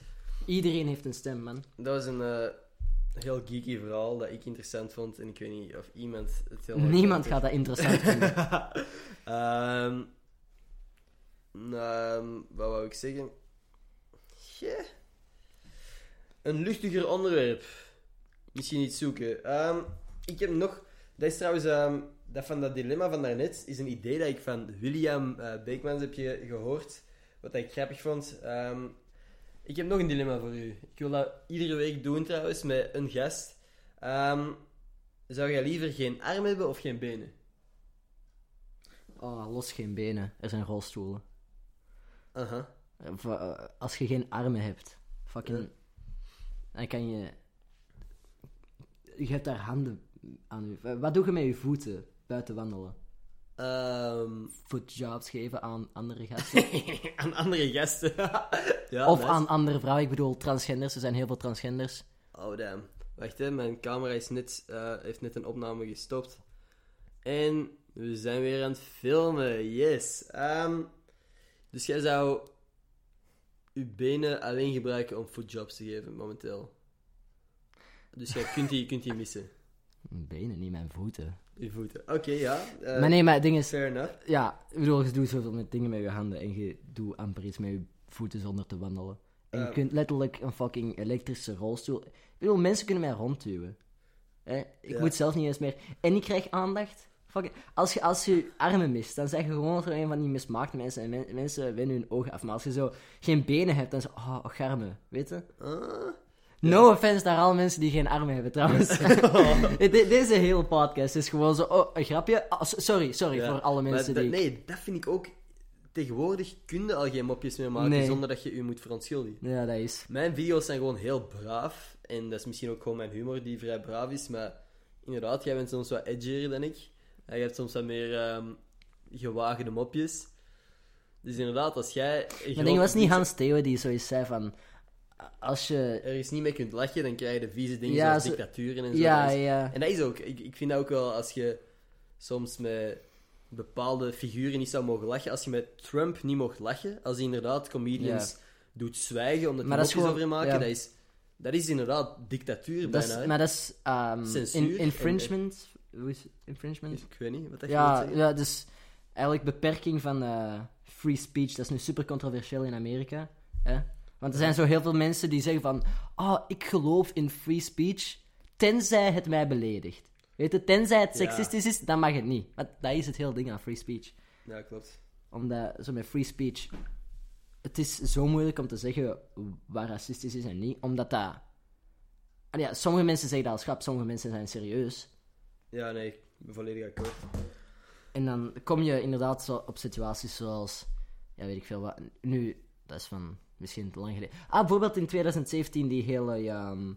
Speaker 2: iedereen heeft een stem, man.
Speaker 1: Dat was een eh, heel geeky verhaal dat ik interessant vond. En ik weet niet of iemand het helemaal...
Speaker 2: Niemand gaat dat interessant vinden.
Speaker 1: Ehm, ehm, wat wou ik zeggen? Ja. Een luchtiger onderwerp. Misschien iets zoeken. Ehm, ik heb nog... Dat is trouwens... ehm, dat van dat dilemma van daarnet is een idee dat ik van William eh, Beekmans heb ge- gehoord. Wat ik grappig vond. Ehm, ik heb nog een dilemma voor u. Ik wil dat iedere week doen trouwens, met een gast. Ehm, zou jij liever geen arm hebben of geen benen?
Speaker 2: Oh, los geen benen. Er zijn rolstoelen.
Speaker 1: Aha.
Speaker 2: Eh, va- eh, Als je geen armen hebt, fucking. Dan kan je. Je hebt daar handen aan je. Eh, Wat doe je met je voeten buiten wandelen?
Speaker 1: Ehm,
Speaker 2: Footjobs geven aan andere gasten.
Speaker 1: aan andere gasten. ja,
Speaker 2: of
Speaker 1: nice.
Speaker 2: aan andere vrouwen. Ik bedoel, transgenders. Er zijn heel veel transgenders.
Speaker 1: Oh, damn. Wacht, hè. mijn camera is net, eh, heeft net een opname gestopt. En we zijn weer aan het filmen, yes. Ehm, dus jij zou je benen alleen gebruiken om footjobs te geven, momenteel. Dus jij kunt die, kunt die missen.
Speaker 2: Mijn benen, niet mijn voeten.
Speaker 1: Je voeten. Oké, ja. eh,
Speaker 2: maar nee, maar het ding is.
Speaker 1: Fair enough.
Speaker 2: Ja, ik bedoel, je doet zoveel met dingen met je handen. En je doet amper iets met je voeten zonder te wandelen. En je
Speaker 1: Eh.
Speaker 2: kunt letterlijk een fucking elektrische rolstoel. Ik bedoel, mensen kunnen mij rondduwen. Hè? Ik
Speaker 1: Ja.
Speaker 2: moet zelf niet eens meer. En ik krijg aandacht. Fucking... Als, je, als je je armen mist, dan zijn je gewoon zo een van die mismaakte mensen. En men- mensen winnen hun ogen af. Maar als je zo geen benen hebt, dan zo. Oh, garmen, weet je?
Speaker 1: Ah.
Speaker 2: No offense naar alle mensen die geen armen hebben, trouwens. De- Deze hele podcast is gewoon zo. Oh, een grapje. Ah, so- sorry, sorry
Speaker 1: Ja,
Speaker 2: voor alle
Speaker 1: maar
Speaker 2: mensen
Speaker 1: dat-
Speaker 2: die.
Speaker 1: Nee, dat vind ik ook... Tegenwoordig kun je al geen mopjes meer maken
Speaker 2: Nee.
Speaker 1: zonder dat je je moet verontschuldigen.
Speaker 2: Ja, dat is.
Speaker 1: Mijn video's zijn gewoon heel braaf. En dat is misschien ook gewoon mijn humor die vrij braaf is. Maar inderdaad, jij bent soms wat edgier dan ik. En je hebt soms wat meer ehm gewagende mopjes. Dus inderdaad, als jij...
Speaker 2: Mijn ding was niet Hans Theo die zoiets zei van... Als je...
Speaker 1: Er is niet mee kunt lachen, dan krijg je de vieze dingen
Speaker 2: Ja,
Speaker 1: zoals
Speaker 2: zo-
Speaker 1: dictaturen en zo.
Speaker 2: Ja,
Speaker 1: Dat is-
Speaker 2: ja.
Speaker 1: En dat is ook... Ik, ik vind dat ook wel, als je soms met bepaalde figuren niet zou mogen lachen... Als je met Trump niet mocht lachen, als hij inderdaad comedians doet zwijgen omdat hij
Speaker 2: Maar dat is
Speaker 1: mopjes over hem
Speaker 2: gewoon-
Speaker 1: maken,
Speaker 2: ja.
Speaker 1: dat is... Dat is inderdaad dictatuur
Speaker 2: Dat
Speaker 1: bijna.
Speaker 2: is,
Speaker 1: hè.
Speaker 2: maar dat is... ehm,
Speaker 1: Censuur
Speaker 2: in,
Speaker 1: en-
Speaker 2: infringement. Hoe is het? Infringement?
Speaker 1: Ik weet niet wat dat
Speaker 2: Ja,
Speaker 1: je wilt zeggen.
Speaker 2: ja, dus eigenlijk beperking van eh, free speech. Dat is nu super controversieel in Amerika. Hè? Want er zijn zo heel veel mensen die zeggen van... Oh, ik geloof in free speech, tenzij het mij beledigt. Weet je, tenzij het
Speaker 1: Ja.
Speaker 2: seksistisch is, dan mag het niet. Want dat is het hele ding aan free speech.
Speaker 1: Ja, klopt.
Speaker 2: Omdat, zo met free speech, het is zo moeilijk om te zeggen waar racistisch is en niet, omdat dat... Ah ja, sommige mensen zeggen dat als grap, sommige mensen zijn serieus.
Speaker 1: Ja, nee, ik ben volledig akkoord.
Speaker 2: En dan kom je inderdaad zo op situaties zoals, ja weet ik veel wat, nu, dat is van misschien te lang geleden. Ah, bijvoorbeeld in 2017 die hele, ehm,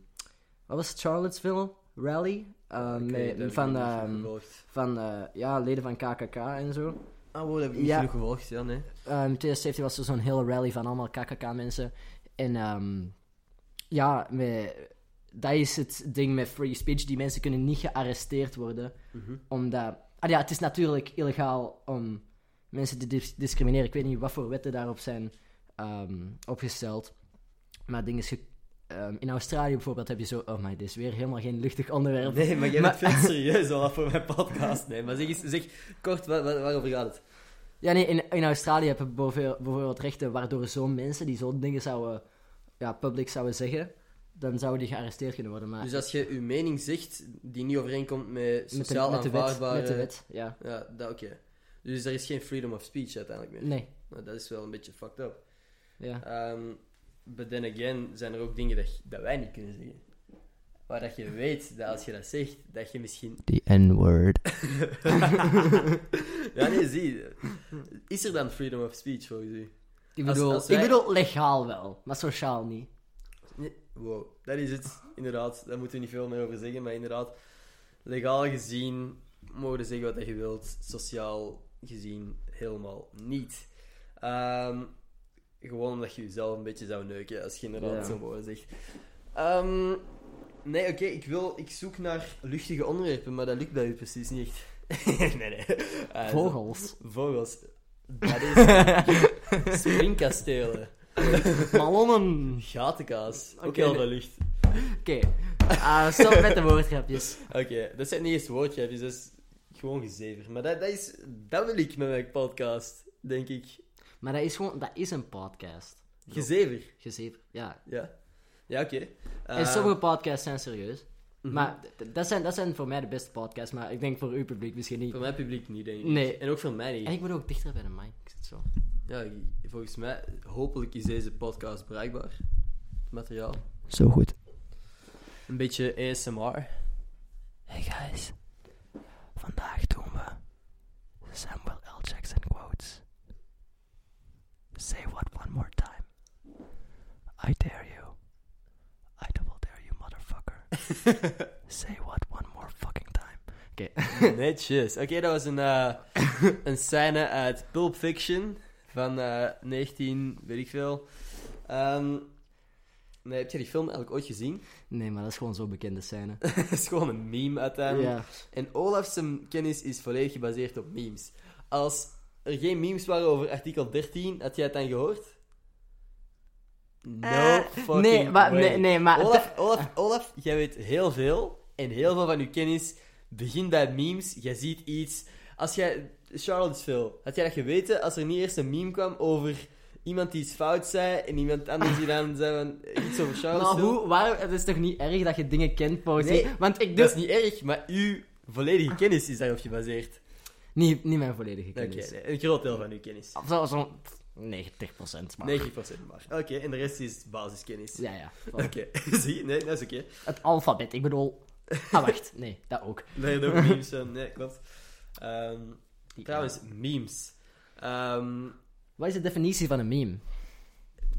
Speaker 2: wat was het, Charlottesville rally? Ehm,
Speaker 1: Ik weet niet,
Speaker 2: met-
Speaker 1: dat heb ik
Speaker 2: van,
Speaker 1: niet genoeg
Speaker 2: ehm,
Speaker 1: gevolgd.
Speaker 2: van eh, ja, leden van KKK en zo.
Speaker 1: Ah, wow, dat heb ik niet
Speaker 2: ja.
Speaker 1: genoeg gevolgd, ja, nee.
Speaker 2: Ehm, in 2017 was er zo'n hele rally van allemaal KKK-mensen. En ehm, ja, met, dat is het ding met free speech. Die mensen kunnen niet gearresteerd worden. Omdat... Ah ja, het is natuurlijk illegaal om mensen te dis- discrimineren. Ik weet niet wat voor wetten daarop zijn ehm, opgesteld. Maar ding is, je- ehm, in Australië bijvoorbeeld heb je zo... Oh, maar dit is weer helemaal geen luchtig onderwerp.
Speaker 1: Nee, maar jij
Speaker 2: Maar-
Speaker 1: bent veel serieus al voor mijn podcast. Nee, maar zeg, eens, zeg kort, waar, waar- waarover gaat het?
Speaker 2: Ja, nee, in, in Australië heb je bijvoorbeeld bijvoorbeeld rechten waardoor zo'n mensen die zo'n dingen zouden... Ja, public zouden zeggen, dan zouden die gearresteerd kunnen worden. Maar
Speaker 1: Dus als je je mening zegt die niet overeenkomt met
Speaker 2: Ah, met, de,
Speaker 1: sociaal
Speaker 2: met de wet,
Speaker 1: aanvaardbare...
Speaker 2: met de wet, ja.
Speaker 1: Ja, dat oké. Dus er is geen freedom of speech uiteindelijk meer.
Speaker 2: Nee,
Speaker 1: Nou, dat is wel een beetje fucked up.
Speaker 2: ja.
Speaker 1: Ehm, but then again zijn er ook dingen dat, dat wij niet kunnen zeggen. Maar dat je weet dat als je dat zegt, dat je misschien...
Speaker 2: The N-word.
Speaker 1: ja, nee, zie. Is er dan freedom of speech volgens u?
Speaker 2: Ik
Speaker 1: Als-
Speaker 2: bedoel,
Speaker 1: als wij-
Speaker 2: ik bedoel legaal wel, maar sociaal niet.
Speaker 1: Nee, Wow, dat is het. Inderdaad, daar moeten we niet veel meer over zeggen. Maar inderdaad, legaal gezien mogen we zeggen wat je wilt. Sociaal gezien helemaal niet. Ehm, gewoon omdat je jezelf een beetje zou neuken als je inderdaad
Speaker 2: Ja.
Speaker 1: zo'n woorden zegt. Ehm, nee, oké, ik, wil- ik zoek naar luchtige onderwerpen, maar dat lukt bij u precies niet echt. nee, nee. Eh,
Speaker 2: Vogels.
Speaker 1: Vogels. Dat is springkastelen.
Speaker 2: Ballonnen.
Speaker 1: Gatenkaas. Ook
Speaker 2: Oké,
Speaker 1: heel
Speaker 2: nee.
Speaker 1: veel lucht.
Speaker 2: Oké, Ah, stop met de woordgrapjes.
Speaker 1: Oké, dat zijn niet eens woordjes, dat is gewoon gezever. Maar dat, dat, is, dat wil ik met mijn podcast, denk ik.
Speaker 2: Maar dat is gewoon, dat is een podcast.
Speaker 1: Gezever,
Speaker 2: Gezever, ja.
Speaker 1: ja. Ja, oké.
Speaker 2: en
Speaker 1: Eh, mhm.
Speaker 2: sommige podcasts zijn serieus. Maar d- dat zijn, dat zijn voor mij de beste podcasts, maar ik denk voor uw publiek misschien niet.
Speaker 1: Voor mijn publiek niet, denk ik.
Speaker 2: Nee.
Speaker 1: En ook voor mij niet.
Speaker 2: En ik moet ook dichter bij de mic, ik zit zo.
Speaker 1: Ja, ik- volgens mij, hopelijk is deze podcast bruikbaar. Materiaal.
Speaker 2: Zo goed.
Speaker 1: Een beetje ASMR.
Speaker 2: Hey guys, vandaag doen we Samuel L. Jackson quotes. Say what one more time. I dare you. I double dare you, motherfucker. Say what one more fucking time. Oké.
Speaker 1: Netjes. Oké, dat was een, eh, een scène uit Pulp Fiction van eh, 19, weet ik veel. Ehm, nee, heb jij die film eigenlijk ooit gezien?
Speaker 2: Nee, maar dat is gewoon zo'n bekende scène.
Speaker 1: Dat is gewoon een meme uiteindelijk.
Speaker 2: ja.
Speaker 1: En Olaf zijn kennis is volledig gebaseerd op memes. Als er geen memes waren over artikel 13, had jij het dan gehoord? No
Speaker 2: Eh,
Speaker 1: fucking
Speaker 2: nee, maar,
Speaker 1: way.
Speaker 2: nee, nee, maar...
Speaker 1: Olaf, Olaf, Olaf, jij weet heel veel. En heel veel van je kennis begint bij memes. Jij ziet iets. Als jij... Charlottesville, had jij dat geweten als er niet eerst een meme kwam over iemand die iets fout zei en iemand anders die dan zei van eh, iets over
Speaker 2: Maar
Speaker 1: Charlottesville?
Speaker 2: hoe, waarom, het is toch niet erg dat je dingen kent, Paul?
Speaker 1: Nee,
Speaker 2: Want ik doe...
Speaker 1: Dat is niet erg, maar uw volledige kennis is daarop gebaseerd.
Speaker 2: Niet, niet mijn volledige
Speaker 1: Oké,
Speaker 2: kennis.
Speaker 1: nee, een groot deel van uw kennis.
Speaker 2: Of zo- Zo'n 90 maar...
Speaker 1: 90% maar. Oké, en de rest is basiskennis.
Speaker 2: Ja, ja.
Speaker 1: Oké, zie je? Nee, dat is oké.
Speaker 2: Het alfabet, ik bedoel... Ah, wacht. Nee, dat ook.
Speaker 1: Nee, dat ook memes zijn. Nee, klopt. Ehm, trouwens, memes. Ehm,
Speaker 2: Wat is de definitie van een meme?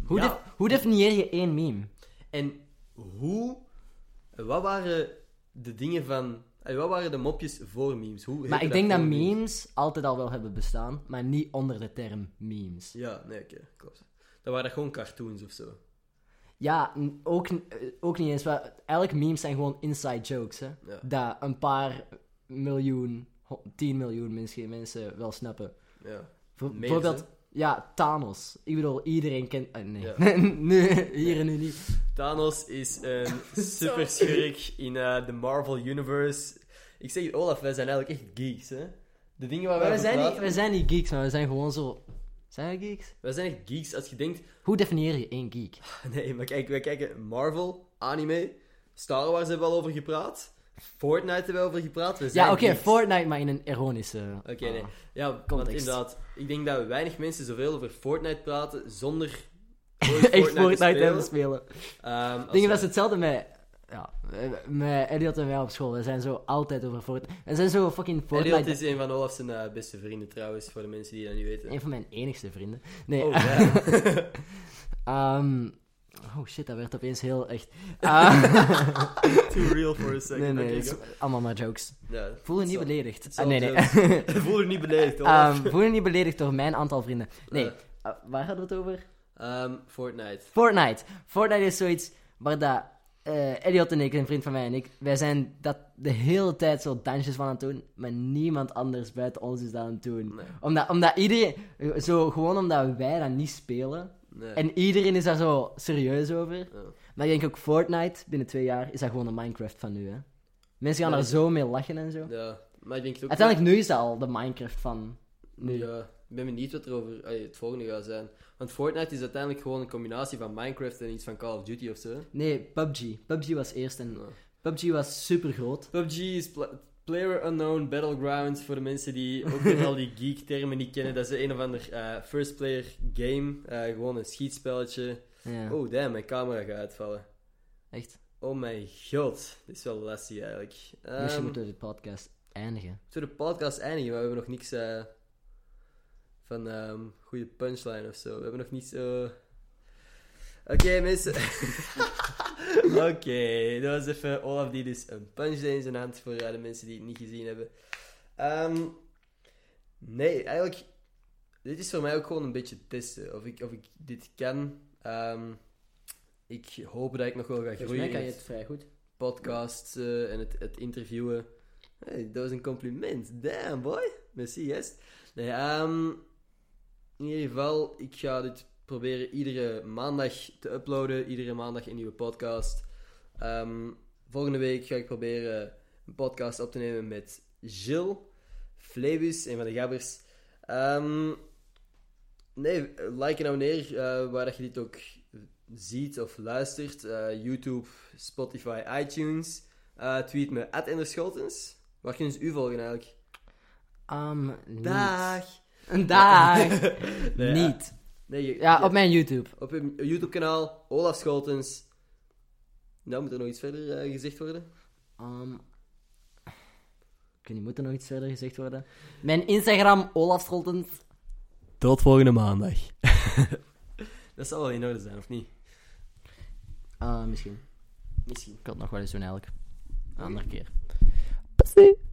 Speaker 2: Hoe,
Speaker 1: Ja.
Speaker 2: def- hoe definieer je één meme?
Speaker 1: en hoe... Wat waren de dingen van... eh, Wat waren de mopjes voor memes? Hoe heette
Speaker 2: Maar ik denk dat
Speaker 1: voor
Speaker 2: memes altijd al wel hebben bestaan, maar niet onder de term memes.
Speaker 1: Ja, nee, oké, klopt. Dat waren gewoon cartoons of zo.
Speaker 2: Ja, n- ook, n- eh, ook niet eens. Maar elk memes zijn gewoon inside jokes, hè.
Speaker 1: Ja.
Speaker 2: Dat een paar miljoen, ho- 10 miljoen misschien mensen wel snappen.
Speaker 1: Ja.
Speaker 2: Voor-
Speaker 1: Meer,
Speaker 2: Bijvoorbeeld,
Speaker 1: hè?
Speaker 2: ja, Thanos. Ik bedoel, iedereen kent... eh, nee,
Speaker 1: Ja.
Speaker 2: nee, hier en nu niet.
Speaker 1: Thanos is een superschurk in eh, de Marvel Universe. Ik zeg het, Olaf, wij zijn eigenlijk echt geeks, hè? De dingen waar wij
Speaker 2: We
Speaker 1: over
Speaker 2: zijn, niet,
Speaker 1: praten-
Speaker 2: we zijn niet geeks, maar we zijn gewoon zo... Zijn we geeks?
Speaker 1: wij zijn echt geeks als je denkt...
Speaker 2: Hoe definieer je één geek?
Speaker 1: Nee, maar kijk, wij kijken Marvel, anime, Star Wars hebben we al over gepraat, Fortnite hebben we over gepraat, we zijn
Speaker 2: Ja, oké,
Speaker 1: geeks.
Speaker 2: Fortnite, maar in een ironische...
Speaker 1: Oké,
Speaker 2: ah.
Speaker 1: nee. Ja, want
Speaker 2: Context.
Speaker 1: inderdaad, ik denk dat weinig mensen zoveel over Fortnite praten zonder ooit
Speaker 2: Echt
Speaker 1: te
Speaker 2: Ah. Fortnite
Speaker 1: spelen.
Speaker 2: hebben spelen.
Speaker 1: Ehm, als
Speaker 2: Dingen,
Speaker 1: we-
Speaker 2: dat is hetzelfde met... Ja, eh, met Elliot en wij op school. We zijn zo altijd over Fortnite. We zijn zo fucking Fortnite...
Speaker 1: Elliot is een van Olaf's eh, beste vrienden trouwens, voor de mensen die dat niet weten.
Speaker 2: Een van mijn enigste vrienden. Nee,
Speaker 1: Oh, ja.
Speaker 2: ehm, oh shit, dat werd opeens heel echt... Ah,
Speaker 1: Too real for a second.
Speaker 2: nee, nee,
Speaker 1: Oké,
Speaker 2: het is
Speaker 1: go.
Speaker 2: allemaal maar jokes.
Speaker 1: Ja,
Speaker 2: Voel je
Speaker 1: het
Speaker 2: niet
Speaker 1: zal-
Speaker 2: beledigd.
Speaker 1: het
Speaker 2: Ah,
Speaker 1: zal
Speaker 2: nee, nee.
Speaker 1: zelfs- Voel je niet beledigd, hoor.
Speaker 2: Ehm, voel je niet beledigd door mijn aantal vrienden. Nee,
Speaker 1: Eh.
Speaker 2: eh, waar hadden we het over?
Speaker 1: Ehm, Fortnite.
Speaker 2: Fortnite. Fortnite is zoiets waar dat, eh, Elliot en ik, een vriend van mij en ik, wij zijn dat de hele tijd zo dansjes van aan het doen, maar niemand anders buiten ons is dat aan het doen.
Speaker 1: Nee.
Speaker 2: Omdat, omdat iedereen, zo, gewoon omdat wij dat niet spelen,
Speaker 1: Nee.
Speaker 2: En iedereen is daar zo serieus over.
Speaker 1: Ja.
Speaker 2: Maar ik denk ook Fortnite, binnen twee jaar, is dat gewoon de Minecraft van nu, hè. Mensen gaan
Speaker 1: Ja.
Speaker 2: daar zo mee lachen en zo.
Speaker 1: Ja, maar ik denk het ook...
Speaker 2: Uiteindelijk nu is dat al de Minecraft van nu.
Speaker 1: Ja, ik ben benieuwd wat er over allee, het volgende gaat zijn. Want Fortnite is uiteindelijk gewoon een combinatie van Minecraft en iets van Call of Duty of zo.
Speaker 2: Nee, PUBG. PUBG was eerst en...
Speaker 1: Ja.
Speaker 2: PUBG was super groot.
Speaker 1: PUBG is pla- Player Unknown Battlegrounds voor de mensen die ook weer al die geek-termen niet kennen. Dat is een of ander eh, first-player game. eh, gewoon een schietspelletje.
Speaker 2: Ja,
Speaker 1: Oh, damn, mijn camera gaat uitvallen.
Speaker 2: echt.
Speaker 1: Oh mijn god, dit is wel lastig eigenlijk.
Speaker 2: Misschien
Speaker 1: Ehm,
Speaker 2: moeten we de podcast eindigen.
Speaker 1: Zullen we de podcast eindigen, maar we hebben nog niks eh, van ehm goede punchline of zo. We hebben nog niets. eh, Oké, mensen. Oké, dat was even Olaf die dus een punchline in zijn hand voor eh, de mensen die het niet gezien hebben. Ehm, nee, eigenlijk. Dit is voor mij ook gewoon een beetje testen of ik, of ik dit kan. Ehm, ik hoop dat ik nog wel ga groeien.
Speaker 2: Volgens mij
Speaker 1: in
Speaker 2: kan je
Speaker 1: het-
Speaker 2: het vrij goed.
Speaker 1: podcasts eh, en het, het interviewen. Hey, dat was een compliment. Damn, boy. Merci, yes. Nee, ehm, in ieder geval, ik ga dit proberen iedere maandag te uploaden. Iedere maandag een nieuwe podcast. Ehm, volgende week ga ik proberen een podcast op te nemen met Gilles Flebus, een van de gabbers. Ehm, nee, like en abonneer eh, waar dat je dit ook ziet of luistert. Eh, YouTube, Spotify, iTunes. Eh, tweet me, at Scholtens. Waar kunnen ze u volgen eigenlijk?
Speaker 2: Um, niet.
Speaker 1: Daag!
Speaker 2: Een dag!
Speaker 1: Nee, eh,
Speaker 2: niet.
Speaker 1: Nee, je-
Speaker 2: Ja,
Speaker 1: je-
Speaker 2: op mijn YouTube.
Speaker 1: op hun YouTube-kanaal, Olaf Scholtens. Nou, moet er nog iets verder eh, gezegd worden?
Speaker 2: Ehm, ik weet niet, moet er nog iets verder gezegd worden? Mijn Instagram, Olaf Scholtens.
Speaker 1: Tot volgende maandag. dat zal wel in orde zijn, of niet?
Speaker 2: Ah, misschien.
Speaker 1: Misschien.
Speaker 2: Ik kan het nog wel eens doen, eigenlijk. Een andere keer.